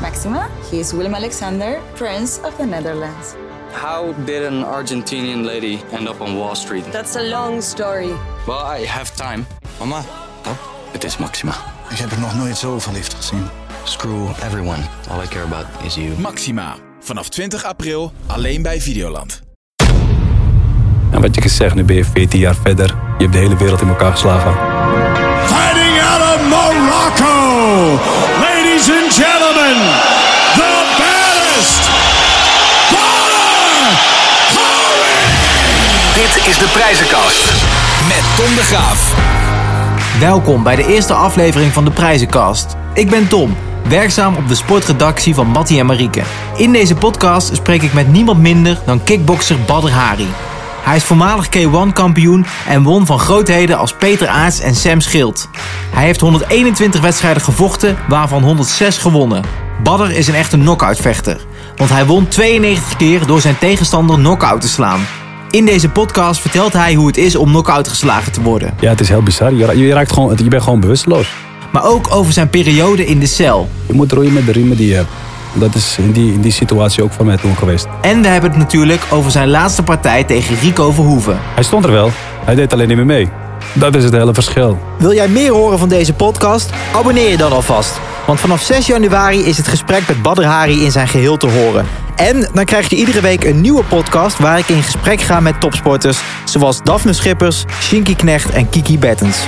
Maxima. He is Willem Alexander, Prince of the Netherlands. How did an Argentinian lady end up on Wall Street? That's a long story. Well, I have time. Mama, Het is Maxima. Ik heb er nog nooit zo verliefd gezien. Screw everyone. All I care about is you. Maxima. Vanaf 20 april alleen bij Videoland. En wat je kan zeggen, nu ben je 14 jaar verder. Je hebt de hele wereld in elkaar geslagen. Fighting out of Morocco, ladies and gentlemen, the baddest, Bonner Dit is de prijzenkast. Met Tom de Graaf. Welkom bij de eerste aflevering van de Prijzenkast. Ik ben Tom, werkzaam op de sportredactie van Mattie en Marieke. In deze podcast spreek ik met niemand minder dan kickbokser Badr Hari. Hij is voormalig K1 kampioen en won van grootheden als Peter Aarts en Sam Schild. Hij heeft 121 wedstrijden gevochten, waarvan 106 gewonnen. Badr is een echte knock-outvechter, want hij won 92 keer door zijn tegenstander knock-out te slaan. In deze podcast vertelt hij hoe het is om knock-out geslagen te worden. Ja, het is heel bizar. Je, ra- je, raakt gewoon, je bent gewoon bewusteloos. maar ook over zijn periode in de cel. Je moet roeien met de riemen die je hebt. Dat is in die, in die situatie ook voor mij toen geweest. En we hebben het natuurlijk over zijn laatste partij tegen Rico Verhoeven. Hij stond er wel. Hij deed alleen niet meer mee. Dat is het hele verschil. Wil jij meer horen van deze podcast? Abonneer je dan alvast. Want vanaf 6 januari is het gesprek met Badr Hari in zijn geheel te horen. En dan krijg je iedere week een nieuwe podcast waar ik in gesprek ga met topsporters zoals Daphne Schippers, Shinky Knecht en Kiki Bettens.